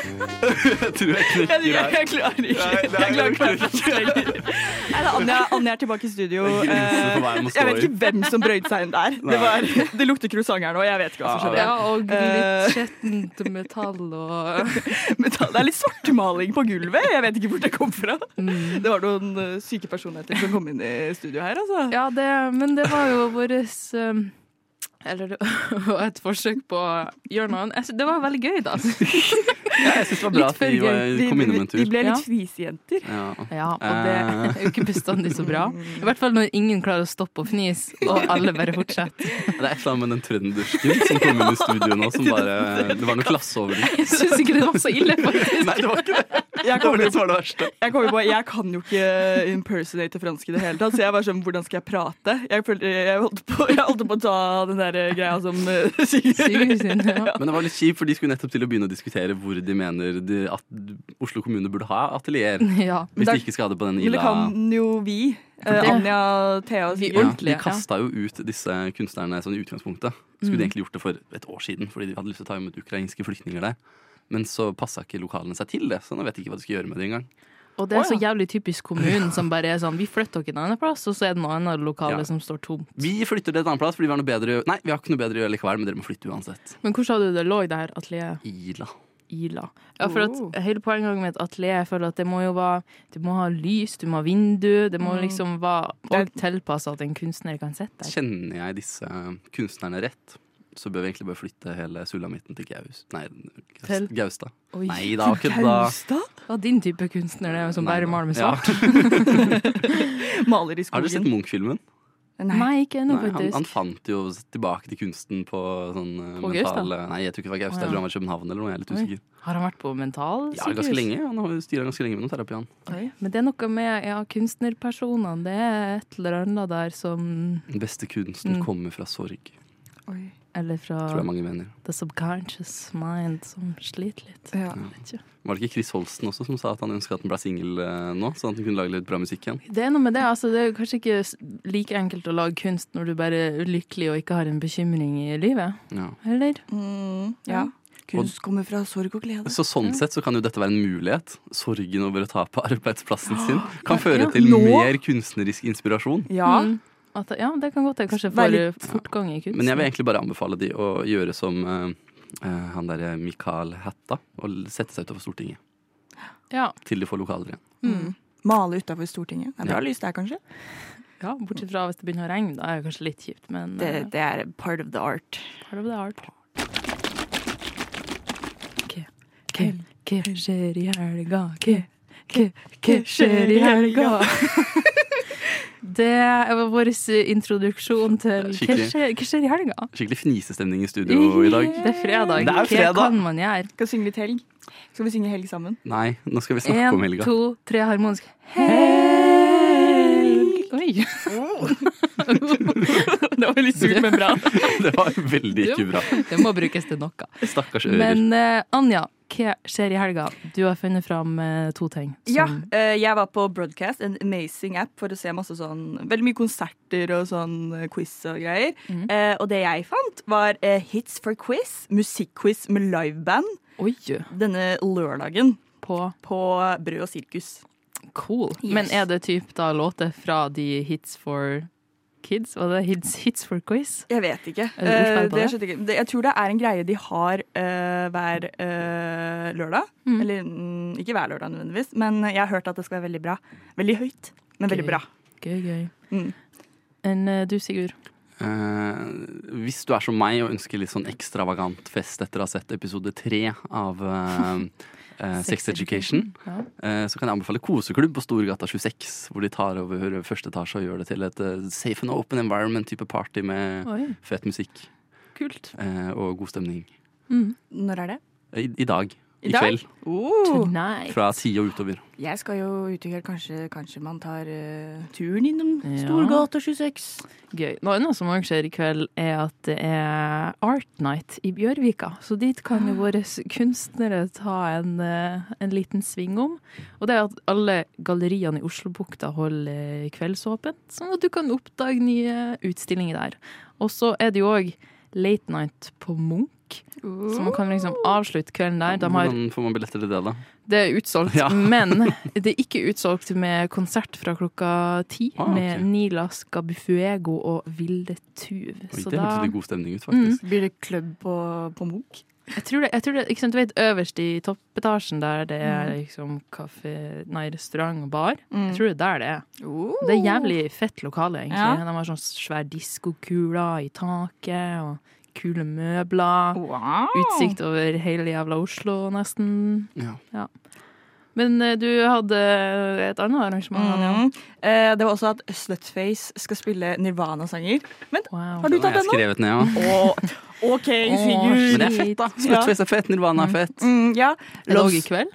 Speaker 5: Jeg tror jeg knekker
Speaker 6: Jeg,
Speaker 5: her.
Speaker 6: jeg klarer ikke.
Speaker 5: Nei, nei,
Speaker 6: Jeg klarer
Speaker 5: jeg
Speaker 6: ikke Nei, da, Anja, Anja er tilbake i studio. Eh,
Speaker 5: for veien å stå
Speaker 6: Jeg vet
Speaker 5: i.
Speaker 6: ikke hvem som brøyt seg inn der. Det, var, det lukter croissant her nå. Jeg vet ikke hva som skjedde.
Speaker 3: Ja, og
Speaker 6: Eh.
Speaker 3: litt skjettent metall og
Speaker 6: Men da- Det er litt svartmaling på gulvet. Jeg vet ikke hvor det kom fra. Det var noen eh, syke personligheter som kom inn i studio her, altså.
Speaker 3: Ja, det, men det var jo våres um, Eller et forsøk på hjørnet. Jeg sy- Det var veldig gøy, da.
Speaker 5: Jeg syns det var bra
Speaker 3: Litt
Speaker 5: at vi
Speaker 3: før
Speaker 5: var,
Speaker 3: gøy.
Speaker 5: kom innom en
Speaker 6: Vi
Speaker 5: tur.
Speaker 6: ble
Speaker 3: Ja.
Speaker 6: litt fnisejenter.
Speaker 5: Ja.
Speaker 3: Ja, og det er jo ikke bestandig så bra. I hvert fall når ingen klarer å stoppe å fnise, og alle bare fortsetter.
Speaker 5: Det er et eller annet med den trøndersken som kom inn i studio nå, som bare Det var noe klasse over det.
Speaker 3: Jeg syns ikke det var så ille, faktisk.
Speaker 5: Nei, det var ikke det.
Speaker 6: Jeg
Speaker 5: Det var
Speaker 6: kommer
Speaker 5: det som var det verste.
Speaker 6: Jeg kom jo på, jeg kan jo ikke impersonate fransk i det hele tatt, så jeg var sånn, hvordan skal jeg prate? Jeg, følte, jeg, holdt, på, jeg holdt på å ta den der greia som eh,
Speaker 3: Sigurd
Speaker 6: Sigurd
Speaker 3: sin, ja.
Speaker 5: Men det var litt kjipt, for de skulle nettopp til å begynne å diskutere hvor de mener de, at Oslo kommune burde ha atelier.
Speaker 3: ja.
Speaker 5: Hvis
Speaker 6: Da-
Speaker 5: de ikke skal ha det på den
Speaker 6: Men det
Speaker 5: illa
Speaker 6: kan jo vi. Eh,
Speaker 3: Det-
Speaker 6: Anja, Thea og
Speaker 3: Vi
Speaker 6: Sigurd.
Speaker 5: ja,
Speaker 3: ordentlig,
Speaker 5: De
Speaker 3: ja.
Speaker 5: kasta jo ut disse kunstnerne sånn i utgangspunktet. Skulle
Speaker 3: Mm.
Speaker 5: de egentlig gjort det for et år siden, fordi de hadde lyst til å ta imot ukrainske flyktninger der. Men så passa ikke lokalene seg til det, så nå vet de ikke hva de skal gjøre med det engang.
Speaker 3: Og det er
Speaker 6: Å,
Speaker 3: så jævlig typisk kommunen som bare er sånn Vi flytter dere en annen plass, og så er det noe annet lokale
Speaker 5: Ja.
Speaker 3: som står tomt.
Speaker 5: Vi flytter til et annet plass fordi vi har noe bedre å gjøre. Nei, vi har ikke noe bedre å gjøre likevel, men dere må flytte uansett.
Speaker 3: Men hvor sa du det lå i det her atelieret?
Speaker 5: Ila.
Speaker 3: Ila. Ja, for
Speaker 6: Oh.
Speaker 3: at Hele poenget med et atelier er for at det må jo være Du må ha lys, du må ha vindu, det
Speaker 5: Mm.
Speaker 3: må liksom være
Speaker 6: Det
Speaker 3: alt tilpassa at en kunstner kan sitte der.
Speaker 5: Kjenner jeg disse kunstnerne rett, så bør vi egentlig bare flytte hele sulamitten til Gaus... Nei, Gaus-
Speaker 3: Til?
Speaker 5: Gaustad.
Speaker 3: Oi.
Speaker 5: Nei da, kødda.
Speaker 6: Gaustad?
Speaker 3: Ja, din type kunstner, det er jo som
Speaker 5: Nei
Speaker 3: bare
Speaker 5: da.
Speaker 3: maler med
Speaker 5: Ja.
Speaker 3: svart.
Speaker 6: Maler i
Speaker 5: Har dere sett
Speaker 6: skogen.
Speaker 5: Munch-filmen?
Speaker 3: Nei, ikke ennå,
Speaker 5: Nei, han,
Speaker 3: faktisk.
Speaker 5: han fant jo tilbake til kunsten på sånn eh,
Speaker 3: På Gaustad?
Speaker 5: mentale Nei, jeg tror ikke det var Gaustad.
Speaker 3: Å, ja.
Speaker 5: Jeg tror han var i København eller noe. Jeg er litt
Speaker 3: Oi.
Speaker 5: usikker.
Speaker 3: Har han vært på mental?
Speaker 5: Ja, ganske lenge. Han har styra ganske lenge med noe terapi, han.
Speaker 3: Men det er noe med ja, kunstnerpersonene. Det er et eller annet der som
Speaker 5: Den beste kunsten
Speaker 3: Mm.
Speaker 5: kommer fra sorg,
Speaker 6: Oi.
Speaker 3: Eller
Speaker 5: tror
Speaker 3: fra
Speaker 5: jeg mange mener.
Speaker 3: the subconscious mind som sliter litt.
Speaker 6: Ja.
Speaker 5: Var det ikke Chris Holsten også som sa at han ønska at han ble singel eh, nå, sånn at han kunne lage litt bra musikk igjen?
Speaker 3: Det er noe med det. altså Det er jo kanskje ikke s- like enkelt å lage kunst når du bare er lykkelig og ikke har en bekymring i livet.
Speaker 5: Ja.
Speaker 3: Eller?
Speaker 6: Mm, ja. Kunst kommer fra sorg og glede.
Speaker 5: Så sånn sett så kan jo dette være en mulighet. Sorgen over å tape arbeidsplassen sin kan føre
Speaker 6: ja.
Speaker 5: til
Speaker 6: Nå?
Speaker 5: mer kunstnerisk inspirasjon.
Speaker 6: Ja.
Speaker 3: Mm. At, det- ja, det kan godt hende. Kanskje
Speaker 6: Vær
Speaker 3: får
Speaker 6: litt-
Speaker 3: fortgang i kunst.
Speaker 5: Men jeg vil egentlig bare anbefale de å gjøre som eh, eh, han derre Mikael Hatta, og sette seg utafor Stortinget.
Speaker 3: ja.
Speaker 5: Til de får lokaler igjen.
Speaker 6: Mm. Male utafor Stortinget. Det er bra
Speaker 5: Ja.
Speaker 6: lys der, kanskje.
Speaker 3: ja, bortsett fra hvis det begynner å regne. Da er det kanskje litt kjipt, men
Speaker 6: Det,
Speaker 3: eh,
Speaker 6: det er part of the art.
Speaker 3: part of the art. Hva- Hva hva skjer i helga? Hva hva- hva skjer i helga? Det var vår eh, introduksjon til hva
Speaker 5: Skikkelig.
Speaker 3: skjer, hva skjer i helga?
Speaker 5: Skikkelig fnisestemning i studio i dag.
Speaker 3: Det er fredag.
Speaker 5: Det er fredag.
Speaker 3: Hva kan man gjøre?
Speaker 6: Skal vi synge litt helg? Skal vi synge helg sammen?
Speaker 5: Nei, nå skal vi snakke om
Speaker 3: Én,
Speaker 5: helga.
Speaker 3: to, tre, harmonisk. Helg Oi. det var litt surt, men bra.
Speaker 5: Det var veldig ikke bra.
Speaker 3: Det må brukes til noe.
Speaker 5: Stakkars ører.
Speaker 3: Men eh, Anja, hva skjer i helga? Du har funnet fram eh, to ting. som-
Speaker 6: Ja, eh, jeg var på Broadcast, en amazing app for å se masse sånn Veldig mye konserter og sånn eh, quiz og greier. Eh, og det jeg fant, var eh, Hits for quiz, musikkquiz med liveband,
Speaker 3: Oi,
Speaker 6: denne lørdagen
Speaker 3: på
Speaker 6: på Brød og sirkus.
Speaker 3: cool.
Speaker 6: Yes.
Speaker 3: Men er det typ da låter fra de Hits for Kids? Var det Hits, hits for Quiz?
Speaker 6: Jeg vet ikke.
Speaker 3: Er det ordspill
Speaker 6: Eh,
Speaker 3: på
Speaker 6: det
Speaker 3: det?
Speaker 6: skjønte jeg ikke. Det- Jeg tror det er en greie de har eh, hver eh, lørdag. Eller mm, ikke hver lørdag nødvendigvis, men jeg har hørt at det skal være veldig bra. Veldig høyt, men veldig
Speaker 3: Gøy.
Speaker 6: bra.
Speaker 3: Gøy, gøy.
Speaker 6: Mm.
Speaker 3: Enn eh, du, Sigurd?
Speaker 5: Eh, hvis du er som meg og ønsker litt sånn ekstravagant fest etter å ha sett episode tre av eh, eh, Sex Education,
Speaker 3: Ja.
Speaker 5: eh, så kan jeg anbefale Koseklubb på Storgata 26. Hvor de tar over første etasje og gjør det til et eh, safe and open environment-type party med
Speaker 3: Oi,
Speaker 5: fet musikk
Speaker 3: kult.
Speaker 5: eh, og god stemning.
Speaker 6: Når er det?
Speaker 5: I, I dag. i kveld.
Speaker 6: Oh,
Speaker 3: Nei.
Speaker 5: Fra ti og utover.
Speaker 6: jeg skal jo ut i kveld. Kanskje, kanskje man tar eh, turen innom
Speaker 3: Ja.
Speaker 6: Storgata 26.
Speaker 3: Gøy. Noe annet som også skjer i kveld, er at det er Art Night i Bjørvika. Så dit kan jo våre kunstnere ta en, eh, en liten sving om. Og det er at alle galleriene i Oslobukta holder eh, kveldsåpent, sånn at du kan oppdage nye utstillinger der. Og så er det jo òg Late Night på Munch, så man kan liksom avslutte kvelden der. De har
Speaker 5: Hvordan får man billetter til det, da?
Speaker 3: det er utsolgt,
Speaker 5: Ja.
Speaker 3: men det er ikke utsolgt med konsert fra klokka ti
Speaker 5: Ah, ok.
Speaker 3: med Nilas Gabufuego og Vilde Tuv.
Speaker 5: Oi,
Speaker 3: Så da
Speaker 5: det
Speaker 3: Mm.
Speaker 5: hørtes litt god stemning ut, faktisk.
Speaker 6: Blir det klubb på, på Munch?
Speaker 3: Jeg tror det, jeg tror det ikke sant, du vet, øverst i toppetasjen der det er
Speaker 5: Mm.
Speaker 3: liksom kafé, nei, restaurant og bar. Jeg tror det er der det er.
Speaker 6: Oh.
Speaker 3: Det er jævlig fett lokale, egentlig.
Speaker 6: Ja.
Speaker 3: De har sånn svær diskokula i taket og kule møbler.
Speaker 6: Wow.
Speaker 3: Utsikt over hele jævla Oslo, nesten.
Speaker 5: Ja.
Speaker 3: Men eh, du hadde et annet arrangement, Anja.
Speaker 6: Mhm. Eh, det var også at Slutface skal spille Nirvana-sanger. Men
Speaker 3: Wow.
Speaker 6: har du
Speaker 5: Nå har
Speaker 6: tatt
Speaker 5: jeg
Speaker 6: den nå?
Speaker 5: skrevet ned, ja.
Speaker 6: Å, OK, Sigurd.
Speaker 5: Men det er fett, da.
Speaker 6: Ja.
Speaker 5: Slutfest er fett, Nirvana er fett.
Speaker 6: Mm, ja.
Speaker 3: Er det
Speaker 6: Los-
Speaker 3: også i kveld?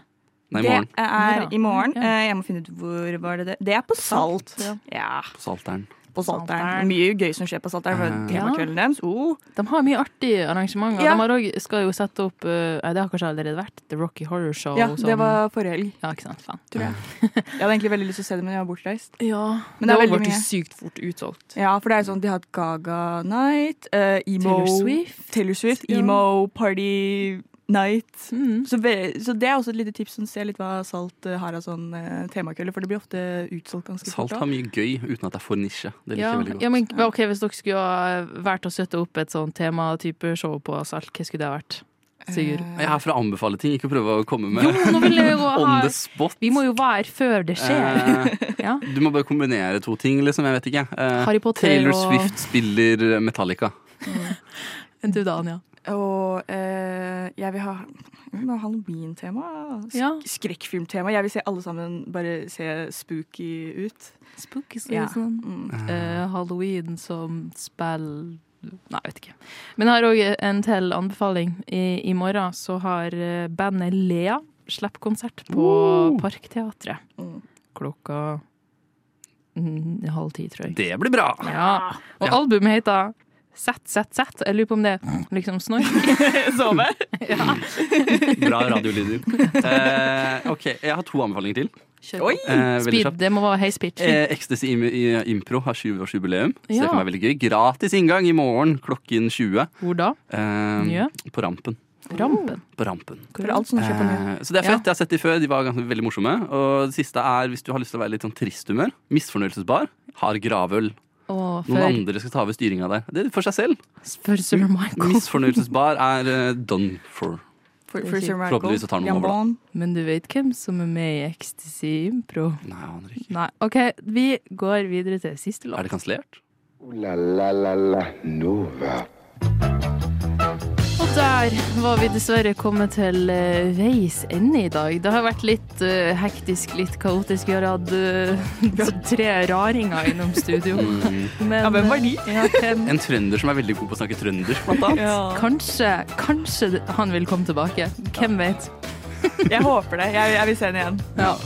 Speaker 5: Nei, i
Speaker 6: Det
Speaker 5: morgen.
Speaker 6: er
Speaker 3: Bra.
Speaker 6: i morgen.
Speaker 3: Ja.
Speaker 6: Eh, Jeg må finne ut hvor var det det Det er på Salt.
Speaker 3: ja.
Speaker 6: Ja,
Speaker 5: På Salteren.
Speaker 6: på Salteren.
Speaker 3: Salteren.
Speaker 6: Mye gøy som skjer på Salteren. For
Speaker 5: Eh.
Speaker 6: temakvelden deres. Oh.
Speaker 3: De har mye artige arrangementer.
Speaker 6: Ja.
Speaker 3: De har også, skal jo sette opp eh, Nei, det har kanskje allerede vært The Rocky Horror Show.
Speaker 6: Ja,
Speaker 3: som-
Speaker 5: sånn.
Speaker 6: det var forrige helg,
Speaker 3: Ja, ikke sant. Faen.
Speaker 6: tror jeg. Jeg hadde egentlig veldig lyst til å se det, men jeg var bortreist.
Speaker 3: Ja,
Speaker 6: Men det er veldig
Speaker 3: ble
Speaker 6: mye.
Speaker 3: sykt fort utsolgt.
Speaker 6: Ja, for det er jo sånn de har hatt Gaga Night, eh, emo
Speaker 3: Taylor Swift.
Speaker 6: Taylor Swift,
Speaker 3: Ja.
Speaker 6: Emo Party Night.
Speaker 3: Mm.
Speaker 6: Så, ve så det er også et lite tips. Sånn, se litt hva Salt eh, har av sånn eh, temakvelder, for det blir ofte utsolgt ganske
Speaker 5: Salt
Speaker 6: fort. da.
Speaker 5: har mye gøy uten at det er for nisje. Det liker
Speaker 3: Ja,
Speaker 5: jeg veldig godt.
Speaker 3: ja, men ok, Hvis dere skulle ha vært og støtte opp et sånn tematype show på Salt, hva skulle det ha vært? Sigurd?
Speaker 6: Eh,
Speaker 5: Jeg er her for å anbefale ting, ikke prøve å komme med
Speaker 3: Jo, nå vil jeg jo
Speaker 5: on
Speaker 3: ha
Speaker 5: the spot.
Speaker 3: Vi må jo være før det skjer.
Speaker 5: Eh,
Speaker 3: Ja.
Speaker 5: du må bare kombinere to ting, liksom. Jeg vet ikke. Eh,
Speaker 3: Harry Potter
Speaker 5: Taylor
Speaker 3: og-
Speaker 5: Swift spiller Metallica.
Speaker 3: Du da, Anja?
Speaker 6: Og eh, jeg vil ha, jeg vil ha Halloween-tema. Sk
Speaker 3: Ja.
Speaker 6: Skrekkfilmtema. Jeg vil se alle sammen bare se spooky ut.
Speaker 3: Spooky
Speaker 6: Ja.
Speaker 5: sånn.
Speaker 3: season.
Speaker 6: Mm.
Speaker 3: eh, Halloween som spill Nei, jeg vet ikke. Men jeg har òg en til anbefaling. I, I morgen så har eh, bandet Lea slippkonsert på Parkteatret.
Speaker 6: Mm.
Speaker 3: Klokka mm, halv ti, tror jeg.
Speaker 5: Det blir bra!
Speaker 3: Ja. Og albumet heter Sett, sett, sett. Jeg lurer på om det
Speaker 5: Mm.
Speaker 3: er liksom snork.
Speaker 6: Sove.
Speaker 5: Bra radiolyder. Eh, ok, jeg har to anbefalinger til.
Speaker 6: Oi!
Speaker 5: Eh, veldig
Speaker 3: Speed,
Speaker 5: kjapt.
Speaker 3: det må være high speed.
Speaker 5: Eh, Ecstasy im i Impro har 20-årsjubileum, så det
Speaker 3: Ja.
Speaker 5: kan være veldig gøy. Gratis inngang i morgen klokken 20.
Speaker 3: Hvor da?
Speaker 5: Eh,
Speaker 3: Ja.
Speaker 5: På Rampen.
Speaker 3: Rampen.
Speaker 5: På rampen.
Speaker 6: For alt som skjer på nytt.
Speaker 5: Eh, Så det er fett. Jeg har sett de før. De var ganske veldig morsomme. Og det siste er, hvis du har lyst til å være litt sånn trist humør, misfornøyelsesbar, har gravøl.
Speaker 3: Og
Speaker 5: Noen
Speaker 3: for,
Speaker 5: andre skal ta over styringa der. Det er for seg selv.
Speaker 3: for Sir Michael.
Speaker 5: Misfornøyelsesbar er eh, done for.
Speaker 6: For,
Speaker 5: Eh,
Speaker 3: Det er
Speaker 6: for
Speaker 3: fint.
Speaker 6: Sir
Speaker 5: Forhåpentligvis så tar
Speaker 6: Michael.
Speaker 5: noen over, da.
Speaker 6: Jambon.
Speaker 3: Men du vet hvem som er med i Ecstasy Impro?
Speaker 5: Nei, jeg aner ikke.
Speaker 3: Nei, OK, vi går videre til siste låt.
Speaker 5: Er det kansellert?
Speaker 2: Ooh la la la la Nova.
Speaker 3: Og der var vi dessverre kommet til eh, veis ende i dag. Det har vært litt eh, hektisk, litt kaotisk. Vi har hatt eh, tre raringer innom studio.
Speaker 5: Mhm.
Speaker 3: Men,
Speaker 6: Ja, hvem var de?
Speaker 3: eh, ja, hvem-
Speaker 5: En trønder som er veldig god på å snakke trønder, blant annet.
Speaker 3: Kanskje, kanskje han vil komme tilbake. Hvem vet.
Speaker 6: Jeg håper det. Jeg, jeg vil se den igjen.
Speaker 3: Ja.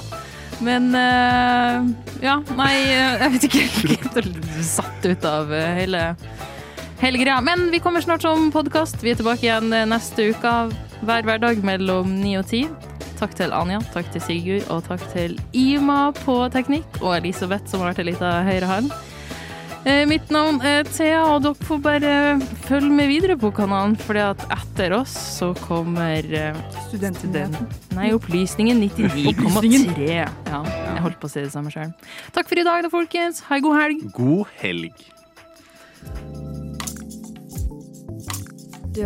Speaker 3: Men eh, ja, nei, eh, jeg vet ikke. Jeg er helt satt ut av eh, hele, hele greia. Men vi kommer snart som podkast. Vi er tilbake igjen eh, neste uke hver hverdag mellom ni og ti. Takk til Anja, takk til Sigurd og takk til Ima på teknikk og Elisabeth som har vært en liten høyrehånd. Eh, Mitt navn er Thea, og dere får bare følge med videre på kanalen, Fordi at etter oss så kommer eh,
Speaker 6: Studenten.
Speaker 3: den. Nei, opplysningen 99,3. Ja, jeg holdt på å si det samme sjøl. Takk for i dag, da, folkens. Ha ei god helg.
Speaker 5: God helg.
Speaker 8: Du